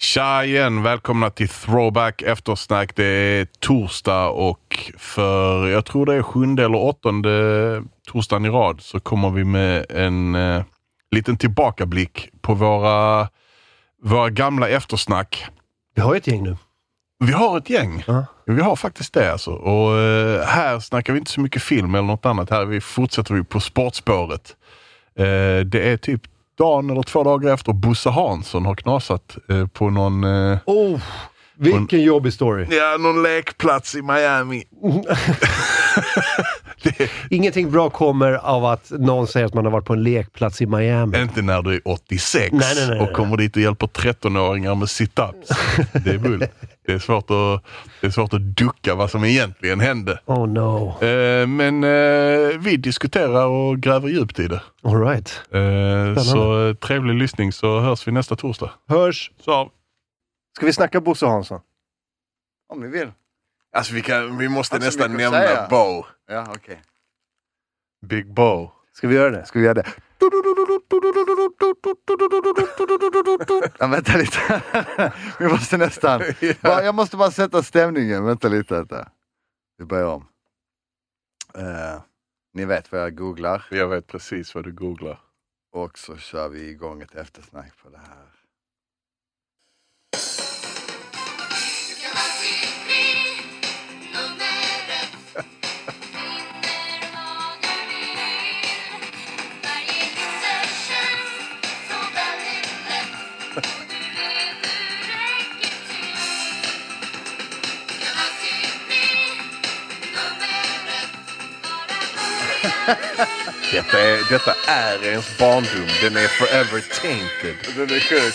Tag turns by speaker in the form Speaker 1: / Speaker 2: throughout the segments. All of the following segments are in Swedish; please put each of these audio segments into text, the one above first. Speaker 1: Tja igen! Välkomna till Throwback Eftersnack. Det är torsdag och för, jag tror det är sjunde eller åttonde torsdagen i rad, så kommer vi med en eh, liten tillbakablick på våra, våra gamla eftersnack.
Speaker 2: Vi har ju ett gäng nu.
Speaker 1: Vi har ett gäng.
Speaker 2: Ja.
Speaker 1: Vi har faktiskt det alltså. Och eh, här snackar vi inte så mycket film eller något annat. Här vi fortsätter vi på sportspåret. Eh, det är typ dagen eller två dagar efter Bosse Hansson har knasat eh, på någon... Eh,
Speaker 2: Oh, vilken jobbig story.
Speaker 1: Ja, någon lekplats i Miami. det
Speaker 2: Ingenting bra kommer av att någon säger att man har varit på en lekplats i Miami.
Speaker 1: är inte när du är 86
Speaker 2: Nej, nej, nej,
Speaker 1: och
Speaker 2: nej.
Speaker 1: kommer dit och hjälper 13-åringar med sit-ups. Det är bull. Det är, svårt att, det är svårt att ducka vad som egentligen hände.
Speaker 2: Oh no.
Speaker 1: Eh, men eh, vi diskuterar och gräver djupt i det.
Speaker 2: Alright.
Speaker 1: Eh, så eh, trevlig lyssning så hörs vi nästa torsdag.
Speaker 2: Hörs.
Speaker 1: Så.
Speaker 3: Ska vi snacka Bosse Hansson? Om ni vill.
Speaker 1: Alltså vi, kan, vi måste
Speaker 3: Inte så nästan mycket att nämna säga.
Speaker 1: Bo.
Speaker 3: Ja, okej.
Speaker 1: Big Bo.
Speaker 3: Ska vi göra det?
Speaker 4: Ska vi göra det?
Speaker 3: Ja, vänta lite. vi måste nästan... Bara, jag måste bara sätta stämningen. Vänta lite. Vänta. Vi börjar om. Eh, ni vet vad jag googlar.
Speaker 1: Jag vet precis vad du googlar.
Speaker 3: Och så kör vi igång ett eftersnack på det här.
Speaker 1: Detta är, detta är ens barndom. Den är forever tainted.
Speaker 3: Den är sjuk.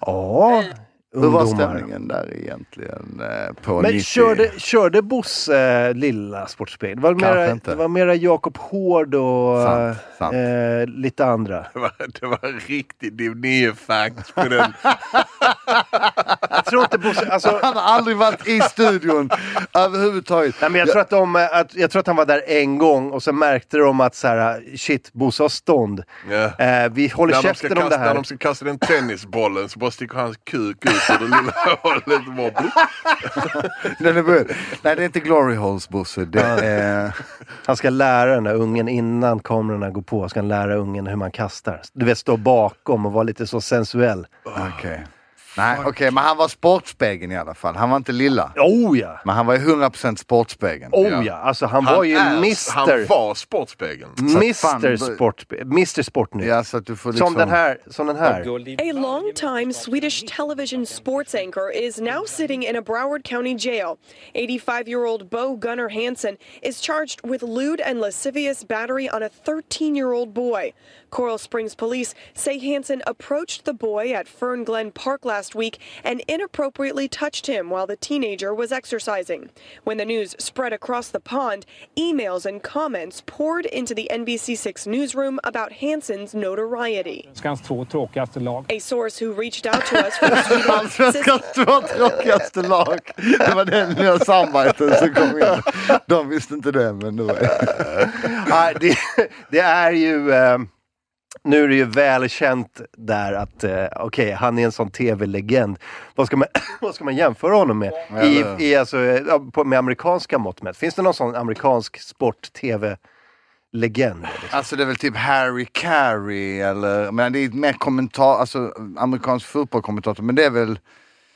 Speaker 4: Ja,
Speaker 3: Hur var
Speaker 4: ungdomar.
Speaker 3: stämningen där egentligen? eh, På
Speaker 4: Men
Speaker 3: 90?
Speaker 4: körde, körde Bosse eh, lilla Sportspel? Det var
Speaker 3: Kanske
Speaker 4: mera,
Speaker 3: inte.
Speaker 4: det var mera Jakob Hård och
Speaker 3: Sant, sant.
Speaker 4: eh, lite andra.
Speaker 1: Det var, det var en riktig div 9-fact på den.
Speaker 4: Jag tror inte Bosse... Alltså,
Speaker 3: Han har aldrig varit i studion överhuvudtaget.
Speaker 4: nej, men jag, tror att de, eh, att, jag tror att han var där en gång och sen märkte de att så här, eh, shit, Bosse har stånd.
Speaker 1: Ja.
Speaker 4: Eh, vi håller
Speaker 1: När de, ska
Speaker 4: käften om
Speaker 1: kasta,
Speaker 4: det här.
Speaker 1: när de ska kasta den tennisbollen så bara sticker hans kuk ut ur det lilla hålet. och bara blup.
Speaker 3: Den är bra. Nej, det är inte glory holes Bosse. Det är...
Speaker 4: Han ska lära den där ungen innan kamerorna går på. Ska han lära ungen hur man kastar. Du vet, stå bakom och vara lite så sensuell.
Speaker 3: Okej. Nej, okej, men han var Sportspegeln i alla fall. Han var inte lilla.
Speaker 4: Oh ja!
Speaker 3: Men han var ju 100% Sportspegeln.
Speaker 4: Oh
Speaker 1: Ja.
Speaker 4: ja! Alltså han, var ju
Speaker 1: är- Han
Speaker 4: mister. Mm.
Speaker 1: var Sportspegeln.
Speaker 3: fan,
Speaker 4: Mr
Speaker 3: då-
Speaker 4: Sport, Mr Sportnytt.
Speaker 3: Ja, så att du får liksom...
Speaker 4: Som den här, som den här.
Speaker 5: A longtime Swedish television sports anchor is now sitting in a Broward County jail. 85 year old Bo Gunnar Hansen is charged with lewd and lascivious battery on a 13 year old boy. Coral Springs police say Hansen approached the boy at Fern Glen Park last week and inappropriately touched him while the teenager was exercising. When the news spread across the pond, emails and comments poured into the NBC6 newsroom about Hansen's notoriety.
Speaker 6: Skans två tråkigaste lag.
Speaker 5: A source who reached out to us from Sweden says
Speaker 3: Svenskarnas två tråkigaste lag. Det var den nya samarbeten som kom in. De visste inte det, men det var...
Speaker 4: Ja, det, det är ju... Eh, nu är det ju välkänt där att, eh, okej, han är en sån tv-legend. Vad ska man, vad ska man jämföra honom med? I,
Speaker 3: Eller-
Speaker 4: i, alltså, eh, ja, på, med amerikanska mått mätt. Finns det någon sån amerikansk sport-tv-legend?
Speaker 3: Alltså det är väl typ Harry Carey eller... Men det är mer kommentar... Alltså amerikansk fotbollskommentator, men det är väl...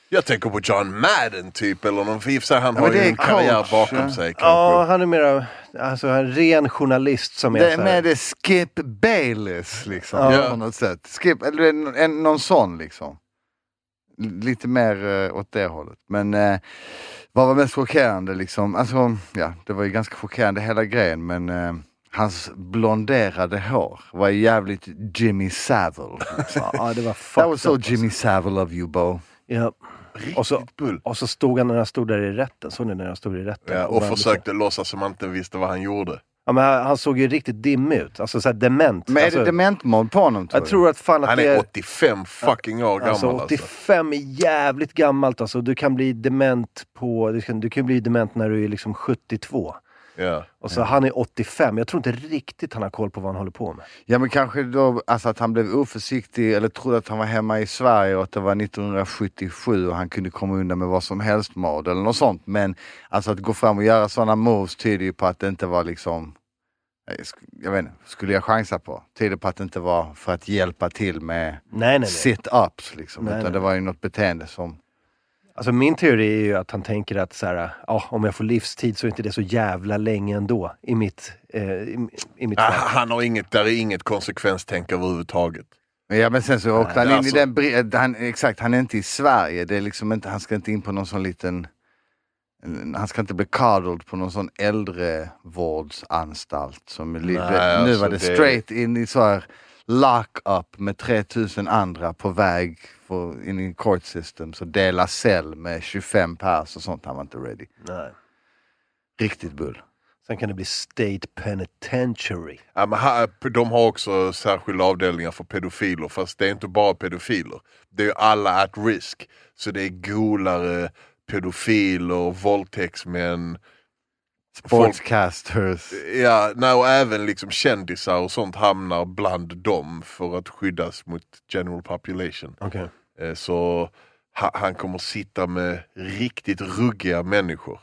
Speaker 1: Jag tänker på John Madden typ, eller någon, för i och för sig, han har
Speaker 3: men
Speaker 1: ju
Speaker 3: det är
Speaker 1: en karriär
Speaker 3: coach,
Speaker 1: bakom
Speaker 3: ja.
Speaker 1: sig kanske.
Speaker 4: Ja, han är mera alltså, en ren journalist som är,
Speaker 3: Det är
Speaker 4: så
Speaker 3: mer
Speaker 4: här,
Speaker 3: det Skip Bayless liksom.
Speaker 1: Ja.
Speaker 3: På något sätt. Skip, eller en, en, någon sån liksom. L- Lite mer eh, åt det hållet. Men eh, vad var mest chockerande liksom? Alltså, ja, det var ju ganska chockerande hela grejen men eh, hans blonderade hår var jävligt Jimmy Savile. liksom.
Speaker 4: Ja, det var fucked
Speaker 3: That was so
Speaker 4: up, alltså.
Speaker 3: Jimmy Savile of you Bo.
Speaker 4: Ja. Och så,
Speaker 1: bull.
Speaker 4: och så stod han när han stod där i rätten. Såg ni när han stod i rätten?
Speaker 1: Ja, och
Speaker 4: bara liksom-
Speaker 1: försökte låtsas som han inte visste vad han gjorde.
Speaker 4: Ja, men han, han såg ju riktigt dimmig ut. Alltså såhär dement.
Speaker 3: Men är
Speaker 4: alltså,
Speaker 3: det dementmod på honom tror
Speaker 4: jag
Speaker 3: du?
Speaker 4: tror att fan att
Speaker 1: Han
Speaker 4: det
Speaker 1: är 85 fucking år gammal
Speaker 4: Alltså
Speaker 1: alltså.
Speaker 4: 85 är jävligt gammalt alltså. Du kan bli dement på... Du kan, du kan bli dement när du är liksom 72.
Speaker 1: Ja.
Speaker 4: Och så han är 85. Jag tror inte riktigt han har koll på vad han håller på med.
Speaker 3: Ja men kanske då alltså att han blev oförsiktig eller trodde att han var hemma i Sverige och att det var 1977 och han kunde komma undan med vad som helst mord eller något sånt. Men alltså att gå fram och göra sådana moves tyder ju på att det inte var liksom, eh, sk- jag vet inte, skulle jag chansa på? Tyder på att det inte var för att hjälpa till med
Speaker 4: Nej, nej, nej.
Speaker 3: sit-ups liksom.
Speaker 4: Nej,
Speaker 3: utan
Speaker 4: nej.
Speaker 3: det var ju något beteende som,
Speaker 4: Alltså min teori är ju att han tänker att så här, ja, om jag får livstid så är inte det så jävla länge ändå i mitt, eh, i, i mitt
Speaker 1: Ah,
Speaker 4: fall.
Speaker 1: han har inget, där är inget konsekvenstänk överhuvudtaget.
Speaker 3: ja men sen så åkte han in
Speaker 1: alltså-
Speaker 3: i den, bri- eh, han, exakt han är inte i Sverige, det är liksom inte, han ska inte in på någon sån liten en- han ska inte bli cuddled på någon sån äldrevårdsanstalt. Som li-
Speaker 1: Nej,
Speaker 3: du vet, nu
Speaker 1: alltså,
Speaker 3: var det
Speaker 1: det-
Speaker 3: straight in i så här lock-up med 3000 andra på väg för, in i court system. Så dela cell med 25 pers och sånt. Han var inte ready.
Speaker 4: Nej.
Speaker 3: Riktigt bull.
Speaker 4: Sen kan det bli State Penitentiary.
Speaker 1: Ja, Ah, men här, de har också särskilda avdelningar för pedofiler, fast det är inte bara pedofiler. Det är ju alla at risk. Så det är golare, pedofiler, våldtäktsmän. Folk,
Speaker 3: Sportscasters.
Speaker 1: ja, nej, och även liksom kändisar och sånt hamnar bland dem för att skyddas mot general population.
Speaker 4: Okay.
Speaker 1: Eh, Så ha- han kommer sitta med riktigt ruggiga människor.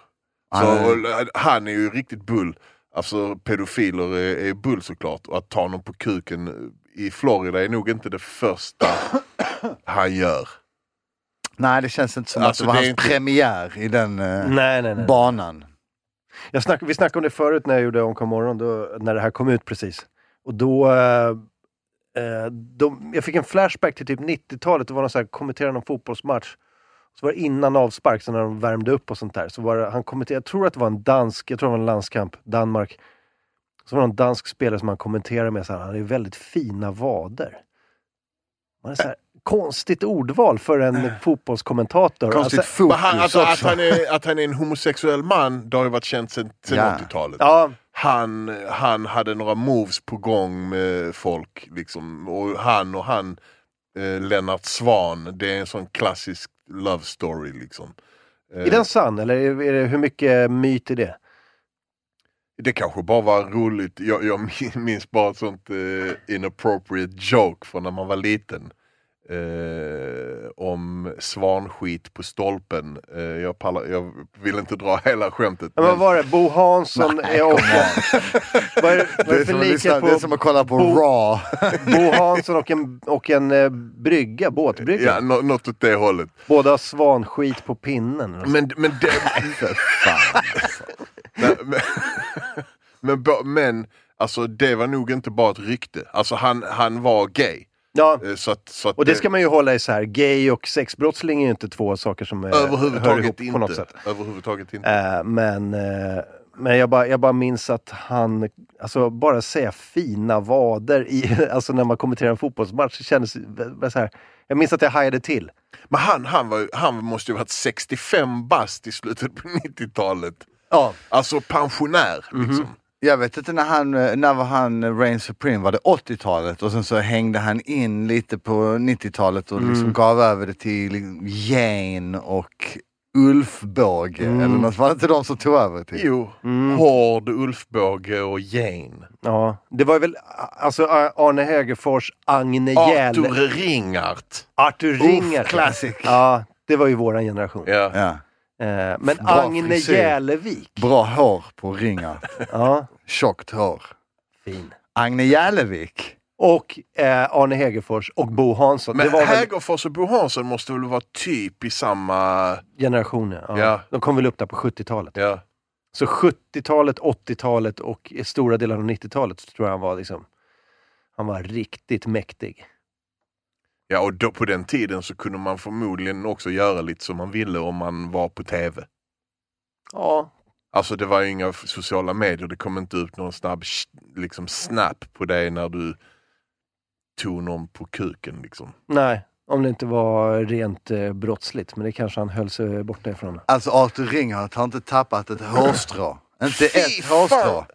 Speaker 1: Så,
Speaker 3: Han är-
Speaker 1: och eh, han är ju riktigt bull. Alltså pedofiler är, är bull såklart. Och att ta någon på kuken eh, i Florida är nog inte det första han gör.
Speaker 3: Nej, det känns inte som
Speaker 1: Alltså,
Speaker 3: att det var
Speaker 1: det är
Speaker 3: hans
Speaker 1: inte-
Speaker 3: premiär i den eh,
Speaker 4: Nej, nej, nej.
Speaker 3: banan.
Speaker 4: Jag snack, vi snackade om det förut när jag gjorde Omkom morgon, då, när det här kom ut precis. Och då... Eh, eh, de, jag fick en flashback till typ 90-talet, det var någon så här, kommentera någon fotbollsmatch. Så var det innan avspark, så när de värmde upp och sånt där. Så var det, han kommenterade, jag tror att det var en dansk, jag tror det var en landskamp, Danmark. Så var det en dansk spelare som han kommenterade med så här, han har ju väldigt fina vader. Man är så här, konstigt ordval för en fotbollskommentator.
Speaker 3: Konstigt
Speaker 4: Alltså,
Speaker 1: Men
Speaker 3: fokus
Speaker 1: han, alltså, att,
Speaker 3: också.
Speaker 1: han är, att han är en homosexuell man, det har ju varit känt sedan sedan
Speaker 3: Ja.
Speaker 1: 80-talet.
Speaker 4: ja,
Speaker 1: Han, han hade några moves på gång med folk. Liksom. Och han och han, eh, Lennart Svan, det är en sån klassisk love story. Liksom.
Speaker 4: är den sann eller är är det, hur mycket myt är det?
Speaker 1: Det kanske bara var roligt, jag, jag minns bara ett sånt eh, inappropriate joke från när man var liten. Eh, om svanskit på stolpen. Eh, jag, pallar, jag vill inte dra hela skämtet.
Speaker 4: Ja, men vad var det? Bo Hansson är också... vad är, vad är
Speaker 3: Det är,
Speaker 4: det
Speaker 3: som
Speaker 4: för
Speaker 3: att lyssna,
Speaker 4: likhet på
Speaker 3: det är som att kolla på
Speaker 4: Bo-
Speaker 3: Raw.
Speaker 4: Bo Hansson och en, och en eh, brygga, båtbrygga?
Speaker 1: ja, nå- något åt det hållet.
Speaker 4: Båda har svanskit på pinnen.
Speaker 1: Men, men, det,
Speaker 3: Fan.
Speaker 4: alltså.
Speaker 1: nej, men, men, bo- men alltså, det var nog inte bara ett rykte. Alltså han, han var gay.
Speaker 4: Ja,
Speaker 1: Eh, så att, så att
Speaker 4: och det ska man ju hålla isär. Gay och sexbrottsling är ju inte två saker som eh, hör ihop
Speaker 1: överhuvudtaget
Speaker 4: på
Speaker 1: inte.
Speaker 4: något sätt.
Speaker 1: Överhuvudtaget inte.
Speaker 4: Eh, men eh, men jag, bara, jag bara minns att han, alltså bara säga fina vader i, alltså när man kommenterar en fotbollsmatch, det kändes eh, så här, jag minns att jag hajade till.
Speaker 1: Men han, han, var, ju- han måste ju varit 65 bast i slutet på 90-talet.
Speaker 4: Ja. Mhm.
Speaker 1: Alltså pensionär. Liksom.
Speaker 3: Jag vet inte när han, eh, när var han eh, Reign Supreme, var det 80-talet? Och sen så hängde han in lite på 90-talet och liksom
Speaker 1: Mm.
Speaker 3: gav över det till liksom Jane och Ulfbåge. Eller något, var det inte de som tog över? Till?
Speaker 1: Mm. Jo,
Speaker 4: Mm.
Speaker 1: hård Ulfbåge och Jane.
Speaker 4: Ja, det var väl alltså Ar- Arne Högerfors, Agne Hjäll,
Speaker 1: Arthur Ringart.
Speaker 4: Arthur Ringer.
Speaker 3: classic.
Speaker 4: Ja, det var ju våran generation.
Speaker 1: Ja.
Speaker 3: Ja.
Speaker 4: Eh, Men
Speaker 3: Bra
Speaker 4: Agne
Speaker 3: frisyr.
Speaker 4: Jälevik.
Speaker 3: Bra hår på ringar.
Speaker 4: Ja,
Speaker 3: Tjockt hår.
Speaker 4: fin.
Speaker 3: Agne Jälevik.
Speaker 4: Och eh, Arne Hegerfors och Bo Hansson.
Speaker 1: Men
Speaker 4: det var väl
Speaker 1: Hägerfors och Bo Hansson måste väl vara typ i samma...
Speaker 4: generationer. Ja.
Speaker 1: Ja.
Speaker 4: De kom väl upp där på 70-talet.
Speaker 1: Ja.
Speaker 4: Så 70-talet, 80-talet och i stora delar av 90-talet så tror jag han var liksom... Han var riktigt mäktig.
Speaker 1: Ja, och då, på den tiden så kunde man förmodligen också göra lite som man ville om man var på TV.
Speaker 4: Ja,
Speaker 1: Alltså det var ju inga f- sociala medier, det kom inte ut någon snabb sh- liksom snap på dig när du tog någon på kuken liksom.
Speaker 4: nej. Om det inte var rent eh, brottsligt, men det kanske han höll sig borta ifrån.
Speaker 3: Alltså Arthur Ringart har inte tappat ett hårstrå. inte
Speaker 1: Fy
Speaker 3: ett hårstrå.
Speaker 1: fan.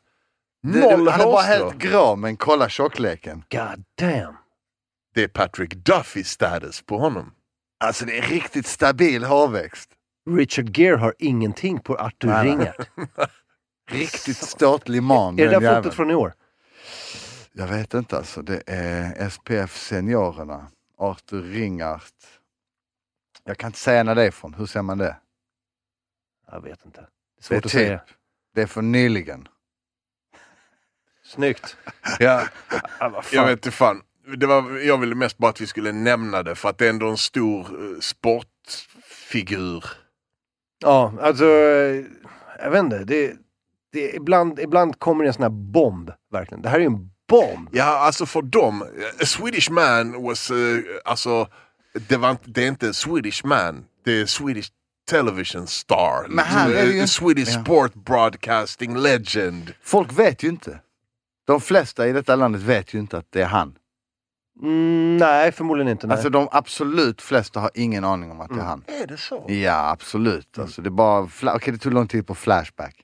Speaker 3: Det-
Speaker 1: Noll
Speaker 3: han är bara
Speaker 1: hårstrå.
Speaker 3: helt grå, men kolla tjockleken.
Speaker 4: God damn!
Speaker 1: Det är Patrick Duffy status på honom.
Speaker 3: Alltså det är riktigt stabil hårväxt.
Speaker 4: Richard Gere har ingenting på Arthur
Speaker 3: Nej, nej.
Speaker 4: Ringart.
Speaker 3: Riktigt ståtlig man.
Speaker 4: Är det
Speaker 3: den
Speaker 4: där
Speaker 3: jäveln.
Speaker 4: fotot från i år?
Speaker 3: Jag vet inte alltså. Det är SPF Seniorerna. Arthur Ringart. Jag kan inte säga när det är från. Hur ser man det?
Speaker 4: Jag vet inte. Det är svårt
Speaker 3: Det är
Speaker 4: att
Speaker 3: typ.
Speaker 4: säga.
Speaker 3: Det är från nyligen.
Speaker 4: Snyggt.
Speaker 1: Ja,
Speaker 4: Ah, vad
Speaker 1: jag
Speaker 4: fan.
Speaker 1: vet inte fan. Det var, jag ville mest bara att vi skulle nämna det för att det är ändå en stor eh, sportfigur.
Speaker 4: Ja, alltså... eh, Jag vet inte. Det, det, ibland, ibland kommer det en sån här bomb, verkligen. Det här är ju en bomb.
Speaker 1: Ja, alltså för dem. eh, A Swedish man was... eh, alltså, det, var, inte- det är inte en Swedish man. Det är Swedish television star.
Speaker 3: Men han
Speaker 1: Liksom,
Speaker 3: är
Speaker 1: eh,
Speaker 3: ju-
Speaker 1: a Swedish
Speaker 3: Ja.
Speaker 1: sport broadcasting legend.
Speaker 3: Folk vet ju inte. De flesta i detta landet vet ju inte att det är han.
Speaker 4: Mm, nej, förmodligen inte. Nej. Mm.
Speaker 3: Alltså de absolut flesta har ingen aning om att det är han.
Speaker 1: Är det så?
Speaker 3: Ja, absolut. Alltså, det är bara... Fla- Okej, det tog lång tid på Flashback.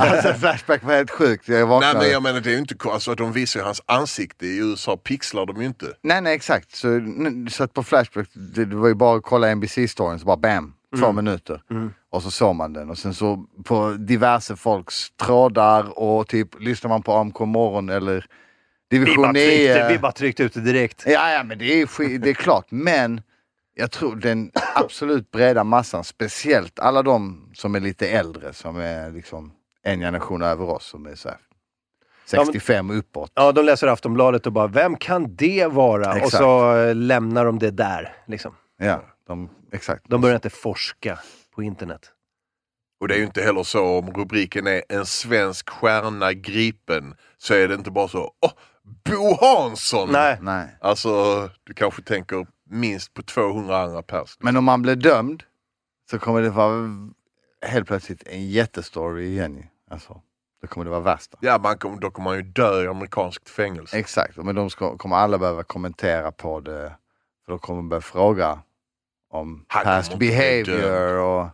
Speaker 3: alltså, flashback var helt sjukt. Jag
Speaker 1: Nej,
Speaker 3: vaknade.
Speaker 1: men jag menar det är ju inte... ko- Alltså, de visar ju hans ansikte. I USA pixlar de ju inte.
Speaker 3: Nej, nej exakt. Så, n- så att på Flashback, det, det var ju bara att kolla NBC-storyn så bara bam, två
Speaker 4: Mm.
Speaker 3: minuter. Och så såg man den. Och sen så på diverse folks trådar och typ lyssnar man på AMK morgon eller
Speaker 4: vi, bara
Speaker 3: division
Speaker 4: tryckte,
Speaker 3: 9.
Speaker 4: vi bara tryckte ut det direkt.
Speaker 3: Ja, ja, men det är, sk- det är klart. Men jag tror den absolut breda massan, speciellt alla de som är lite äldre, som är liksom en generation över oss, som är så här
Speaker 4: men-
Speaker 3: 65 och uppåt.
Speaker 4: Ja, de läser Aftonbladet och bara, vem kan det vara? Och
Speaker 3: Exakt.
Speaker 4: så eh, lämnar de det där. Liksom.
Speaker 3: Ja, de, exakt.
Speaker 4: De börjar inte forska på internet.
Speaker 1: Och det är ju inte heller så om rubriken är en svensk stjärna gripen så är det inte bara så åh, Bo Hansson!
Speaker 3: Mm.
Speaker 4: Nej.
Speaker 3: Nej.
Speaker 1: Alltså, du kanske tänker minst på 200 andra pers.
Speaker 3: Men om man blir dömd så kommer det vara helt plötsligt en jättestory igen. ju. Alltså, då kommer det vara värsta.
Speaker 1: Ja, man kom, då kommer man ju dö i amerikanskt fängelse.
Speaker 3: Exakt, men de ska, kommer alla behöva kommentera på det. För de kommer börja fråga om
Speaker 1: Han kommer
Speaker 3: past
Speaker 1: inte bli
Speaker 3: behavior
Speaker 1: dömd.
Speaker 3: och,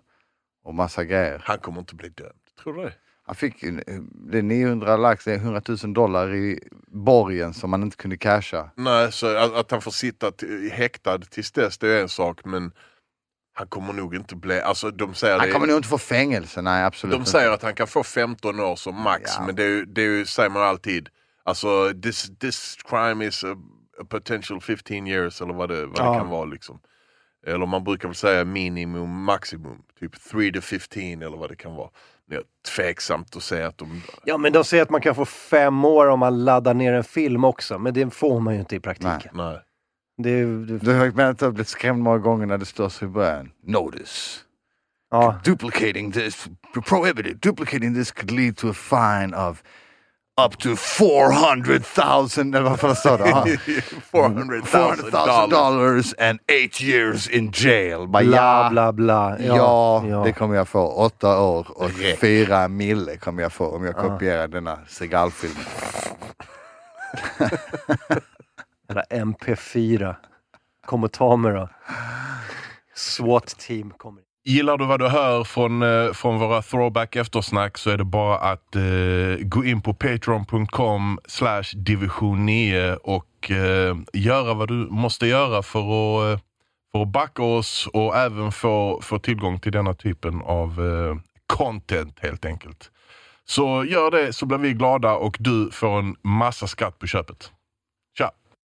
Speaker 3: och massa grejer.
Speaker 1: Han kommer inte bli dömd. Tror du det?
Speaker 3: Han fick ju- det är 900 lax, det är 100 000 dollar i borgen som man inte kunde casha.
Speaker 1: Nej, så att, att han får sitta t- häktad tills dess det är en sak, men han kommer nog inte bli... Alltså, de säger,
Speaker 3: Han
Speaker 1: det,
Speaker 3: kommer nog inte få fängelse, nej absolut
Speaker 1: de
Speaker 3: inte.
Speaker 1: säger att han kan få 15 år som max,
Speaker 3: Ja.
Speaker 1: men det, är ju- det är ju, säger man alltid. Alltså, this, this crime is a, a potential 15 years, eller vad det, vad det
Speaker 4: Ja.
Speaker 1: kan vara. liksom. Eller man brukar väl säga minimum, maximum. Typ 3 to 15 eller vad det kan vara. Det är tveksamt att säga att de...
Speaker 4: Ja, men de säger att man kan få fem år om man laddar ner en film också, men det får man ju inte i praktiken.
Speaker 1: Nej.
Speaker 4: Det, är- det,
Speaker 3: Du har ju med att du har blivit skrämd många gånger när det står så i början. Notice.
Speaker 4: ja.
Speaker 3: duplicating this prohibited duplicating this could lead to a fine of up to 400,000 eller vad fan sa det? Ja.
Speaker 1: 400,000
Speaker 3: 400,000
Speaker 1: dollar.
Speaker 3: dollars and eight years in jail. Bara,
Speaker 4: Bla,
Speaker 3: ja,
Speaker 4: bla, bla.
Speaker 3: ja, det kommer jag få. Åtta år och
Speaker 1: Räck.
Speaker 3: fyra mille kommer jag få om jag kopierar denna Segal-film.
Speaker 4: Jävla MP4. Kom och ta mig då. SWAT-team kommer.
Speaker 1: Gillar du vad du hör från, eh, från våra throwback eftersnack så är det bara att eh, gå in på patreon.com slash division 9 och eh, göra vad du måste göra för att, eh, för att backa oss och även få, få tillgång till denna typen av eh, content helt enkelt. Så gör det så blir vi glada och du får en massa skatt på köpet.